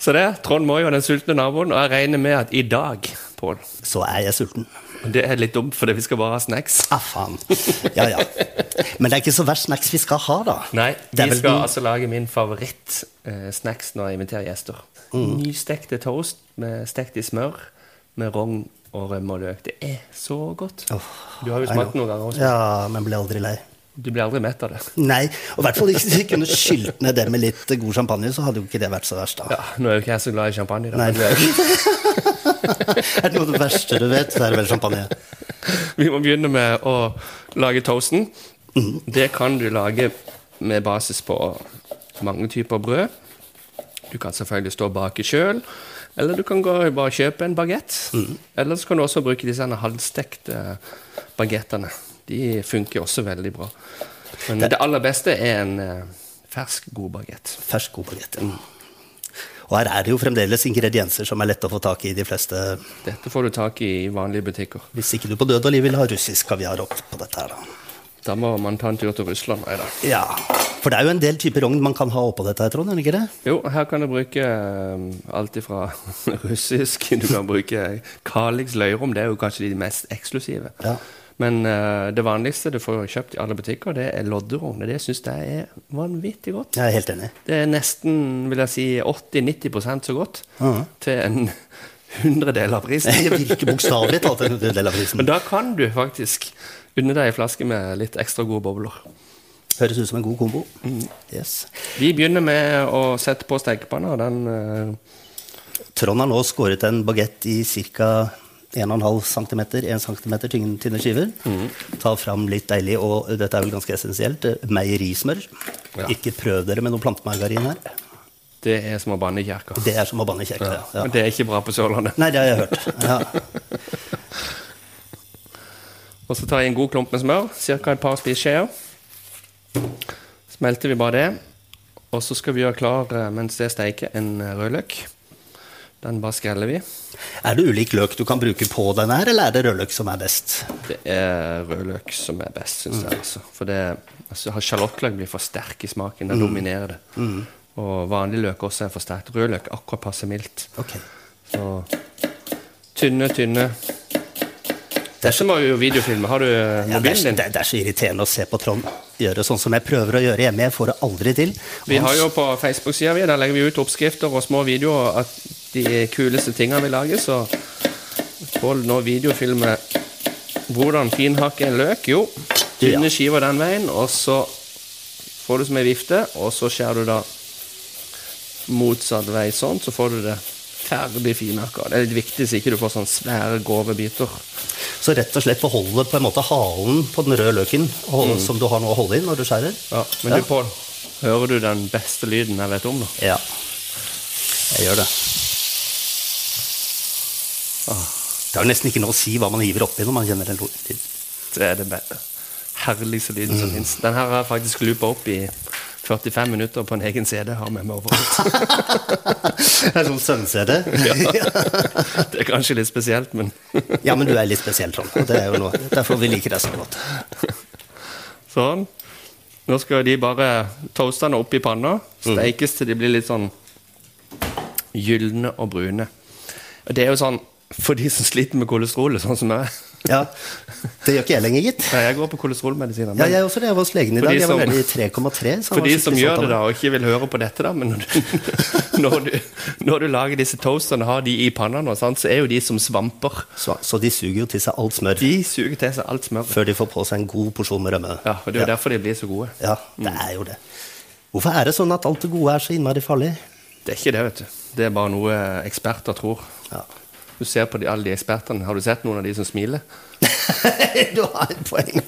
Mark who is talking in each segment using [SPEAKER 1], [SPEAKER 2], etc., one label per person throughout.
[SPEAKER 1] Så det, Trond Moi og den sultne naboen. Og jeg regner med at i dag, Pål
[SPEAKER 2] Så er jeg sulten.
[SPEAKER 1] Det er litt dumt, fordi vi skal bare ha snacks.
[SPEAKER 2] Ah, faen. Ja, ja. Men det er ikke så verst snacks vi skal ha, da.
[SPEAKER 1] Nei,
[SPEAKER 2] Det
[SPEAKER 1] vi
[SPEAKER 2] er vel
[SPEAKER 1] skal
[SPEAKER 2] den-
[SPEAKER 1] altså lage min favoritt-snacks når jeg inviterer gjester. Mm. Nystekte toast med stekt i smør med rogn og rømme og løk. Det er så godt.
[SPEAKER 2] Åh,
[SPEAKER 1] Du har jo
[SPEAKER 2] I
[SPEAKER 1] smakt
[SPEAKER 2] know.
[SPEAKER 1] noen ganger også.
[SPEAKER 2] Ja, men ble aldri lei.
[SPEAKER 1] Du blir aldri mett av det.
[SPEAKER 2] Nei, og i hvert fall ikke hvis vi kunne skylt ned det med litt god champagne, så hadde jo ikke det vært så verst, da.
[SPEAKER 1] Ja, nå er jo ikke jeg så glad i champagne. Da.
[SPEAKER 2] Nei.
[SPEAKER 1] men det-
[SPEAKER 2] Er det noe av det verste du vet, så er det vel champagne.
[SPEAKER 1] Vi må begynne med å lage toasten. Det kan du lage med basis på mange typer brød. Du kan selvfølgelig stå og bake sjøl, eller du kan gå og bare kjøpe en bagett. Eller så kan du også bruke disse her halvstekte bagettene. De funker også veldig bra. Men det, aller beste er en eh, fersk, god bagett.
[SPEAKER 2] Fersk, god baguette. Og her er det jo fremdeles ingredienser som er lette å få tak i i de fleste
[SPEAKER 1] Dette får du tak i i vanlige butikker.
[SPEAKER 2] Hvis ikke du på død og liv vil ha russisk kaviar opp på dette her, da.
[SPEAKER 1] Da må man ta en tur til Russland. Nei da.
[SPEAKER 2] Ja, For det er jo en del typer rogn man kan ha oppå dette, her, Trond? er det ikke det?
[SPEAKER 1] Jo, her kan du bruke eh, alt ifra russisk Du kan bruke Kalix løyrom, det er jo kanskje de mest eksklusive.
[SPEAKER 2] Ja.
[SPEAKER 1] Men eh, det vanligste du får kjøpt i alle butikker, det er lodderogn. og Det syns jeg er vanvittig godt.
[SPEAKER 2] Jeg er helt enig.
[SPEAKER 1] Det er nesten vil jeg si, 80-90 så godt
[SPEAKER 2] Ja.
[SPEAKER 1] til en hundredel av prisen.
[SPEAKER 2] Det virker bokstavelig talt en del av prisen.
[SPEAKER 1] Men da kan du faktisk unne deg en flaske med litt ekstra gode bobler.
[SPEAKER 2] Høres ut som en god kombo. Yes.
[SPEAKER 1] Vi begynner med å sette på stekepanna. og Den eh,
[SPEAKER 2] Trond har nå skåret en bagett i ca. 1,5 cm, 1 cm tynne, tynne skiver. Ta fram litt deilig, og dette er vel ganske essensielt, eh, meierismør.
[SPEAKER 1] Ja.
[SPEAKER 2] Ikke prøv dere med noe plantemargarin her.
[SPEAKER 1] det er som å banne i kirka.
[SPEAKER 2] Det er som å banne i kjerka. Ja. Ja.
[SPEAKER 1] Men det er ikke bra på Sørlandet.
[SPEAKER 2] Nei, det har jeg hørt. Ja.
[SPEAKER 1] Og så tar jeg en god klump med smør, ca. et par spiseskjeer. Smelter vi bare det. Og så skal vi gjøre klar eh, mens det steiker, en eh, rødløk. Den bare skreller vi.
[SPEAKER 2] Er det ulik løk du kan bruke på den her, eller er det rødløk som er best?
[SPEAKER 1] Det er rødløk som er best, syns
[SPEAKER 2] Mm.
[SPEAKER 1] jeg. altså. For det, altså, har sjalottløk blir for sterk i smaken.
[SPEAKER 2] Mm.
[SPEAKER 1] Den dominerer det. Og vanlig løk også er for sterkt. Rødløk akkurat passe mildt.
[SPEAKER 2] Ok.
[SPEAKER 1] Så tynne, tynne. Dette må vi jo videofilme. Har du eh,
[SPEAKER 2] Ja, det, er,
[SPEAKER 1] mobilen din?
[SPEAKER 2] det, er- det er så irriterende å se på Trond gjøre sånn som jeg prøver å gjøre hjemme. Jeg får det aldri til. Og
[SPEAKER 1] Vi
[SPEAKER 2] han
[SPEAKER 1] har jo på Facebook-sida vi, der legger vi ut oppskrifter og små videoer av de kuleste tingene vi lager, så Pål nå videofilmer hvordan finhakke en løk. Jo,
[SPEAKER 2] Ja.
[SPEAKER 1] tynne skiver den veien, og så får du som ei vifte, og så skjærer du da motsatt vei sånn, så får du det ferdig finhakka. Det er litt viktig så ikke du får sånne svære, grove biter.
[SPEAKER 2] Så rett og slett beholde på en måte halen på den røde løken og, som du har nå å holde i når du skjærer?
[SPEAKER 1] Mm. Ja, men du, Pål, hører du den beste lyden jeg vet om, da?
[SPEAKER 2] Ja. Jeg gjør det.
[SPEAKER 1] Ah.
[SPEAKER 2] Det har jo nesten ikke noe å si hva man hiver oppi når man kjenner en lo- lyd.
[SPEAKER 1] eh, Det er den be- herligste lyden
[SPEAKER 2] Mm.
[SPEAKER 1] som fins. Den her har jeg faktisk loopa opp i 45 minutter på en egen CD. Har med meg overalt.
[SPEAKER 2] Det er sånn søvnsede.
[SPEAKER 1] Det er kanskje litt spesielt, men
[SPEAKER 2] ja, men du er litt spesiell, Trond. Og det er jo noe. Derfor vi liker deg så godt.
[SPEAKER 1] sånn. Nå skal de bare toaste den opp i panna.
[SPEAKER 2] Mm.
[SPEAKER 1] Steikes til de blir litt sånn gylne og brune. Og det er jo sånn for de som sliter med kolesterolet, sånn som jeg.
[SPEAKER 2] Ja, Det gjør ikke jeg lenger, gitt.
[SPEAKER 1] Nei, jeg går på kolesterolmedisiner.
[SPEAKER 2] Ja,
[SPEAKER 1] men-
[SPEAKER 2] jeg også det. Jeg var hos legen i
[SPEAKER 1] For
[SPEAKER 2] dag.
[SPEAKER 1] de
[SPEAKER 2] Jeg var
[SPEAKER 1] som-
[SPEAKER 2] nede i 3,3. så han
[SPEAKER 1] For
[SPEAKER 2] var
[SPEAKER 1] de som
[SPEAKER 2] skikkelig stolt
[SPEAKER 1] gjør
[SPEAKER 2] av
[SPEAKER 1] sånn det
[SPEAKER 2] meg.
[SPEAKER 1] da og ikke vil høre på dette, da, men når du, når du, når du lager disse toastene og har de i panna, nå, sant, så er jo de som svamper.
[SPEAKER 2] Så, så de suger jo til seg alt smør
[SPEAKER 1] De suger til seg alt smøret.
[SPEAKER 2] før de får på seg en god porsjon med rømme.
[SPEAKER 1] Ja, og Det er jo derfor de blir så gode.
[SPEAKER 2] Ja, det er jo det. Hvorfor er det sånn at alt det gode er så innmari farlig?
[SPEAKER 1] Det er ikke det, vet du. Det er bare noe eksperter tror.
[SPEAKER 2] Ja.
[SPEAKER 1] Du ser på de, alle de ekspertene. Har du sett noen av de som smiler?
[SPEAKER 2] du har et poeng.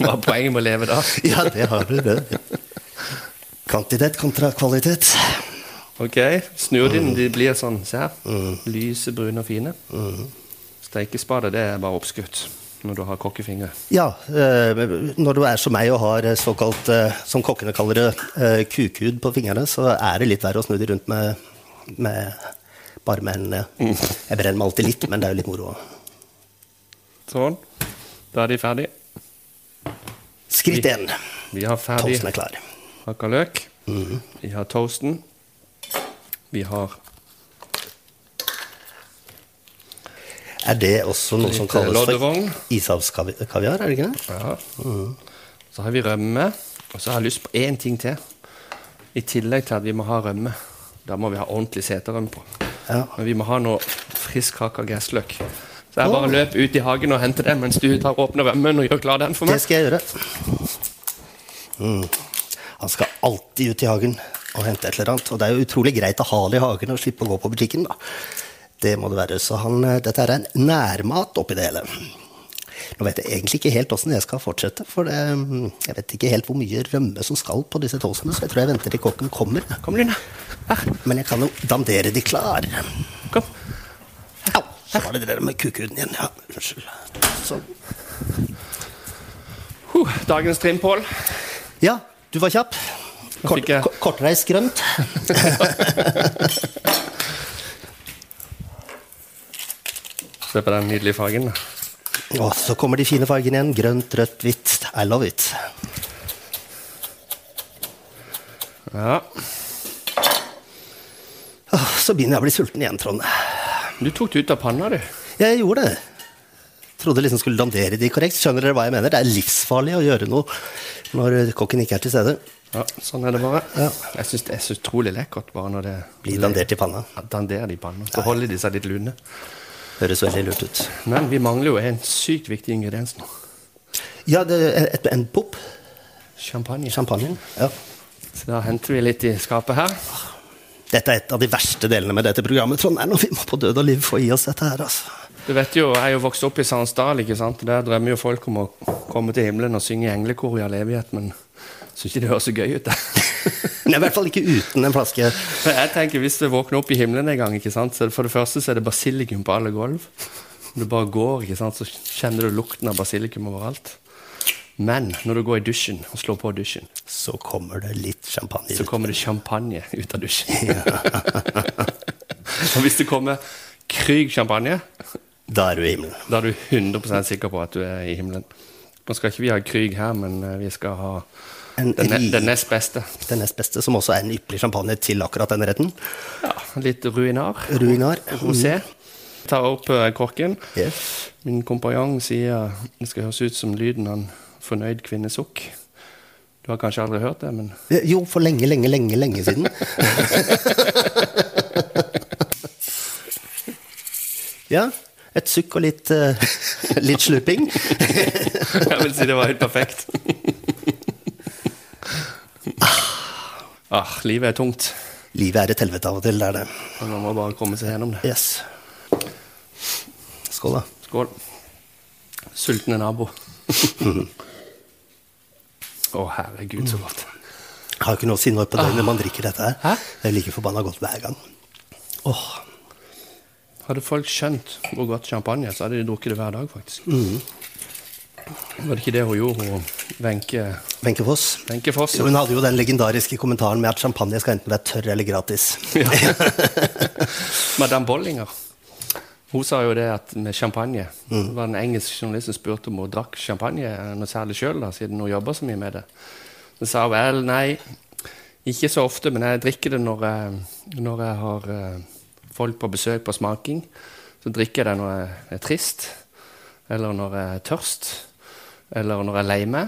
[SPEAKER 1] Hva er poenget med å leve da?
[SPEAKER 2] ja, det har du, det. Kvantitet kontra kvalitet.
[SPEAKER 1] Ok, Snur de den, de blir sånn. Se her. Lyse, brune og fine. Steikespade, det er bare oppskrytt når du har kokkefingre.
[SPEAKER 2] Ja, eh, når du er som meg og har eh, såkalt, eh, som kokkene kaller det, eh, kukhud på fingrene, så er det litt verre å snu de rundt med, med bare med hendene.
[SPEAKER 1] Mm.
[SPEAKER 2] Jeg brenner meg alltid litt, men det er jo litt moro.
[SPEAKER 1] Sånn. Da er de ferdige.
[SPEAKER 2] Skritt én.
[SPEAKER 1] Vi har ferdig
[SPEAKER 2] Toasten er klar.
[SPEAKER 1] hakka løk. Vi har toasten. vi har
[SPEAKER 2] Er det også noe som
[SPEAKER 1] Litt, eh,
[SPEAKER 2] kalles
[SPEAKER 1] lodderogn.
[SPEAKER 2] for ishavskaviar, er det ikke det?
[SPEAKER 1] Ja.
[SPEAKER 2] Mm-hmm.
[SPEAKER 1] Så har vi rømme. Og så har jeg lyst på én ting til. I tillegg til at vi må ha rømme. Da må vi ha ordentlig seterømme på.
[SPEAKER 2] Ja.
[SPEAKER 1] Men vi må ha noe frisk hakka gressløk. Så jeg
[SPEAKER 2] Åh.
[SPEAKER 1] bare løp ut i hagen og henter den mens du tar åpner rømmen og gjør klar den for
[SPEAKER 2] Det
[SPEAKER 1] meg.
[SPEAKER 2] skal jeg gjøre. Mm. Han skal alltid ut i hagen og hente et eller annet. Og det er jo utrolig greit å ha det i hagen og slippe å gå på butikken, da. Det må det være. Så han, eh, dette er en nærmat oppi det hele. Nå vet jeg egentlig ikke helt åssen jeg skal fortsette, for det, mm, jeg vet ikke helt hvor mye rømme som skal på disse toastene, så jeg tror jeg venter til kokken kommer.
[SPEAKER 1] Kom, Lina. Her.
[SPEAKER 2] Men jeg kan jo dandere de klar.
[SPEAKER 1] Kom.
[SPEAKER 2] Au! Så var det det der med kukuden igjen. Ja, unnskyld. Sånn.
[SPEAKER 1] Huh, dagens trimpål.
[SPEAKER 2] Ja, du var kjapp. Kort,
[SPEAKER 1] fikk jeg-
[SPEAKER 2] ko- kortreist grønt.
[SPEAKER 1] Se på den nydelige fargen. da.
[SPEAKER 2] Og så kommer de fine fargene igjen. Grønt, rødt, hvitt. I love it.
[SPEAKER 1] Ja.
[SPEAKER 2] Åh, Så begynner jeg å bli sulten igjen, Trond.
[SPEAKER 1] Du tok det ut av panna, du.
[SPEAKER 2] Jeg gjorde det. Trodde liksom skulle dandere de korrekt. Skjønner dere hva jeg mener? Det er livsfarlig å gjøre noe når kokken ikke er til stede.
[SPEAKER 1] Ja, sånn er det bare.
[SPEAKER 2] Ja.
[SPEAKER 1] Jeg syns det er så utrolig lekkert bare når det
[SPEAKER 2] Bli dandert i panna.
[SPEAKER 1] Ja, Danderer de panna. Så holder de seg litt lune.
[SPEAKER 2] Høres veldig lurt ut.
[SPEAKER 1] Men vi mangler jo en sykt viktig ingrediens nå.
[SPEAKER 2] Ja, det er et, en pop.
[SPEAKER 1] Champagne.
[SPEAKER 2] Champagnen. Ja.
[SPEAKER 1] Så da henter vi litt i skapet her.
[SPEAKER 2] Dette er et av de verste delene med dette programmet, Trond. Det er når vi må på død og liv få i oss dette her, altså.
[SPEAKER 1] Du vet jo, Jeg er jo vokst opp i Sandsdal. ikke sant? Der drømmer jo folk om å komme til himmelen og synge i englekor i all evighet, men jeg syns ikke det høres så gøy ut. det.
[SPEAKER 2] Men jeg er i hvert fall ikke uten en flaske.
[SPEAKER 1] Men jeg tenker, Hvis du våkner opp i himmelen en gang, ikke sant? så er det- for det første så er det basilikum på alle gulv. Når du bare går, ikke sant? så kjenner du lukten av basilikum overalt. Men når du går i dusjen og slår på dusjen,
[SPEAKER 2] Så kommer det litt champagne.
[SPEAKER 1] så kommer det champagne ut av dusjen. og hvis det kommer Krüg champagne,
[SPEAKER 2] Da er du i himmelen.
[SPEAKER 1] Da er du 100 sikker på at du er i himmelen. Nå skal ikke vi ha Krüg her, men eh, vi skal ha
[SPEAKER 2] En
[SPEAKER 1] den, ne
[SPEAKER 2] ri-
[SPEAKER 1] den nest beste.
[SPEAKER 2] Den nest beste, som også er en ypperlig champagne til akkurat den retten.
[SPEAKER 1] Ja, litt ruinar.
[SPEAKER 2] Ruinar.
[SPEAKER 1] Rosé. Tar opp eh, korken.
[SPEAKER 2] Yes.
[SPEAKER 1] Min kompanjong sier det skal høres ut som lyden av en fornøyd kvinnesukk. Du har kanskje aldri hørt det, men
[SPEAKER 2] Jo, for lenge, lenge, lenge, lenge siden. ja. Et sukk og litt, eh, litt slurping.
[SPEAKER 1] jeg vil si det var helt perfekt. ah, livet er tungt.
[SPEAKER 2] Livet er et helvete av og til, det er det.
[SPEAKER 1] men Man må bare komme seg gjennom det.
[SPEAKER 2] Yes. Skål, da.
[SPEAKER 1] Skål. Sultne nabo. Å, herregud, så godt.
[SPEAKER 2] Har ikke noe sinnår på det når man drikker dette her.
[SPEAKER 1] Hæ?
[SPEAKER 2] Det er like forbanna godt hver gang. Åh,
[SPEAKER 1] Hadde folk skjønt hvor godt champagne er, så hadde de drukket det hver dag, faktisk. Var det ikke det hun gjorde, hun Wenche
[SPEAKER 2] Wenche Foss.
[SPEAKER 1] Wenche Foss?
[SPEAKER 2] Jo, hun hadde jo den legendariske kommentaren med at champagne skal enten være tørr eller gratis.
[SPEAKER 1] Madame Bollinger. Hun sa jo det at med champagne Det var en engelsk journalist som spurte om hun drakk champagne eh, noe særlig sjøl, siden hun jobber så mye med det. Så sa hun vel, nei, ikke så ofte, men jeg drikker det når jeg, når jeg har eh, folk på besøk på smaking. Så drikker jeg det når jeg er trist, eller når jeg er tørst, eller når jeg er lei meg.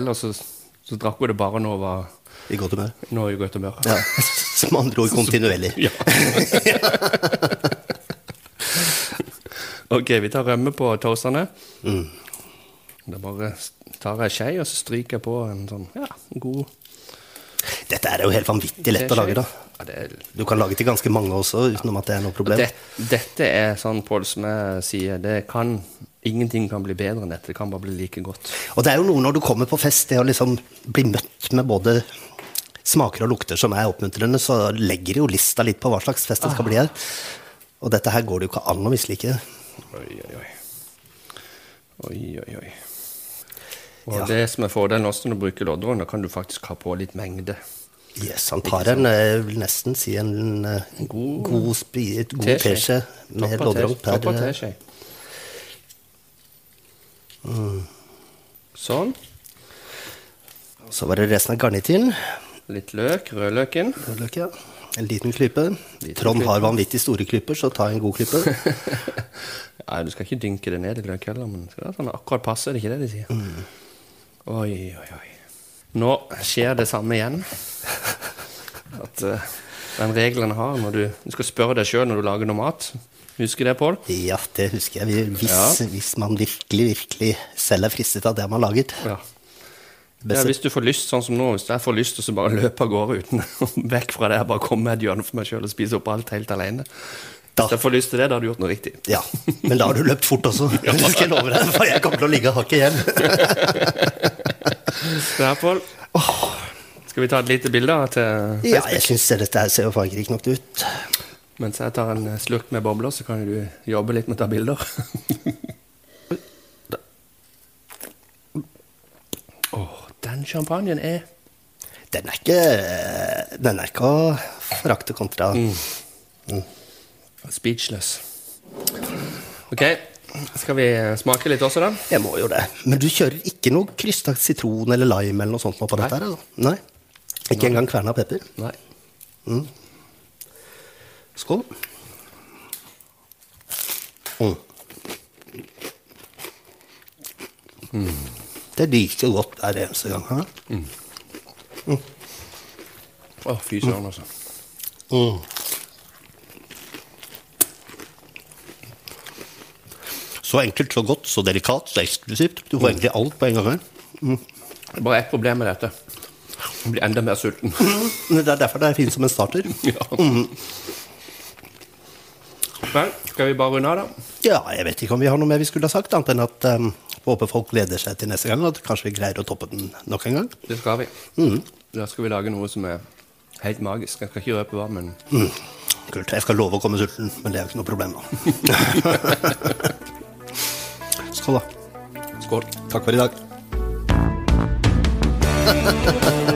[SPEAKER 1] Eller så, så drakk hun det bare når hun var
[SPEAKER 2] I godt humør.
[SPEAKER 1] når hun var i godt humør.
[SPEAKER 2] Ja. Som andre ord kontinuerlig.
[SPEAKER 1] Ja. ok, vi tar rømme på toastene.
[SPEAKER 2] Mm.
[SPEAKER 1] Da bare tar jeg skei, og så stryker jeg på en sånn ja, god
[SPEAKER 2] Dette er jo helt vanvittig lett å lage, da.
[SPEAKER 1] Ja, det er,
[SPEAKER 2] Du kan lage til ganske mange også, utenom at det er noe problem.
[SPEAKER 1] det, dette er sånn Pål som jeg sier, det kan Ingenting kan bli bedre enn dette. Det kan bare bli like godt.
[SPEAKER 2] Og det er jo noe når du kommer på fest, det å liksom bli møtt med både smaker og lukter som er oppmuntrende, så legger jo lista litt på hva slags fest det skal bli her. Og dette her går det jo ikke an å mislike.
[SPEAKER 1] Oi, oi, oi. Oi, oi, oi. Og
[SPEAKER 2] Ja.
[SPEAKER 1] det som er fordelen også når du bruker lodderen, da kan du faktisk ha på litt mengde.
[SPEAKER 2] Yes, han tar en, eh, vil nesten si en eh,
[SPEAKER 1] God-
[SPEAKER 2] god, spi- et god
[SPEAKER 1] Teskje.
[SPEAKER 2] teskje med
[SPEAKER 1] Toppa
[SPEAKER 2] loddrogn
[SPEAKER 1] tes-
[SPEAKER 2] per
[SPEAKER 1] toppa
[SPEAKER 2] eh,
[SPEAKER 1] teskje.
[SPEAKER 2] Mm.
[SPEAKER 1] Sånn.
[SPEAKER 2] Så var det resten av garnityren.
[SPEAKER 1] Litt løk. Rødløken.
[SPEAKER 2] Rødløk, ja. En liten klype.
[SPEAKER 1] Liten
[SPEAKER 2] Trond
[SPEAKER 1] klype.
[SPEAKER 2] har vanvittig store klyper, så ta en god klype.
[SPEAKER 1] Nei, du skal ikke dynke det ned i løk heller, men det skal være sånn akkurat passe, er det ikke det de sier? Oi, oi, oi. Nå skjer det samme igjen. At eh, den regelen jeg har når du, du skal spørre deg sjøl når du lager noe mat. Husker det, Pål?
[SPEAKER 2] Ja, det husker jeg. Vi- Hvis,
[SPEAKER 1] Ja.
[SPEAKER 2] hvis man virkelig, virkelig selv er fristet av det man laget.
[SPEAKER 1] Ja.
[SPEAKER 2] Best-
[SPEAKER 1] hvis du får lyst, sånn som nå, hvis jeg får lyst til å bare løpe av gårde uten vekk fra det, bare komme med et hjørne for meg sjøl og spise opp alt helt alene
[SPEAKER 2] Da.
[SPEAKER 1] Hvis jeg får lyst til det, da har du gjort noe riktig.
[SPEAKER 2] Ja, men da har du løpt fort også. Det skal jeg love deg, for jeg kommer til å ligge hakket igjen.
[SPEAKER 1] Det her, Pål. Skal vi ta et lite bilde av til
[SPEAKER 2] Ja, jeg syns dette her ser jo faen ikke riktig nok ut.
[SPEAKER 1] Mens jeg tar en slurk med bobler, så kan du jobbe litt med å ta bilder. Åh, den champagnen er
[SPEAKER 2] Den er ikke, den er ikke å forakte kontra
[SPEAKER 1] Mm. speechless. Ok, skal vi smake litt også, da?
[SPEAKER 2] Jeg må jo det. Men du kjører ikke noe krystakt sitron eller lime eller noe sånt nå på dette her? Altså. Nei. Ikke engang kverna pepper?
[SPEAKER 1] Nei.
[SPEAKER 2] Skål. Mm. Mm. Det liker jeg godt hver eneste gang. Hæ?
[SPEAKER 1] Å, fy søren, altså.
[SPEAKER 2] Mm. Så enkelt, så godt, så delikat, så eksklusivt. Du får egentlig alt på en gang her.
[SPEAKER 1] Det er bare ett problem med dette. Jeg blir enda mer sulten.
[SPEAKER 2] Men Det er derfor det er fint som en starter.
[SPEAKER 1] ja. Vel, skal vi bare runde av, da?
[SPEAKER 2] Ja, jeg vet ikke om vi har noe mer vi skulle ha sagt, annet enn at um, håper folk gleder seg til neste gang, og at kanskje vi greier å toppe den nok en gang.
[SPEAKER 1] Det skal vi. Da skal vi lage noe som er helt magisk. Jeg skal ikke røpe hva, men
[SPEAKER 2] Kult. Jeg skal love å komme sulten, men det er jo ikke noe problem nå. Skål, da.
[SPEAKER 1] skål.
[SPEAKER 2] Takk for i dag.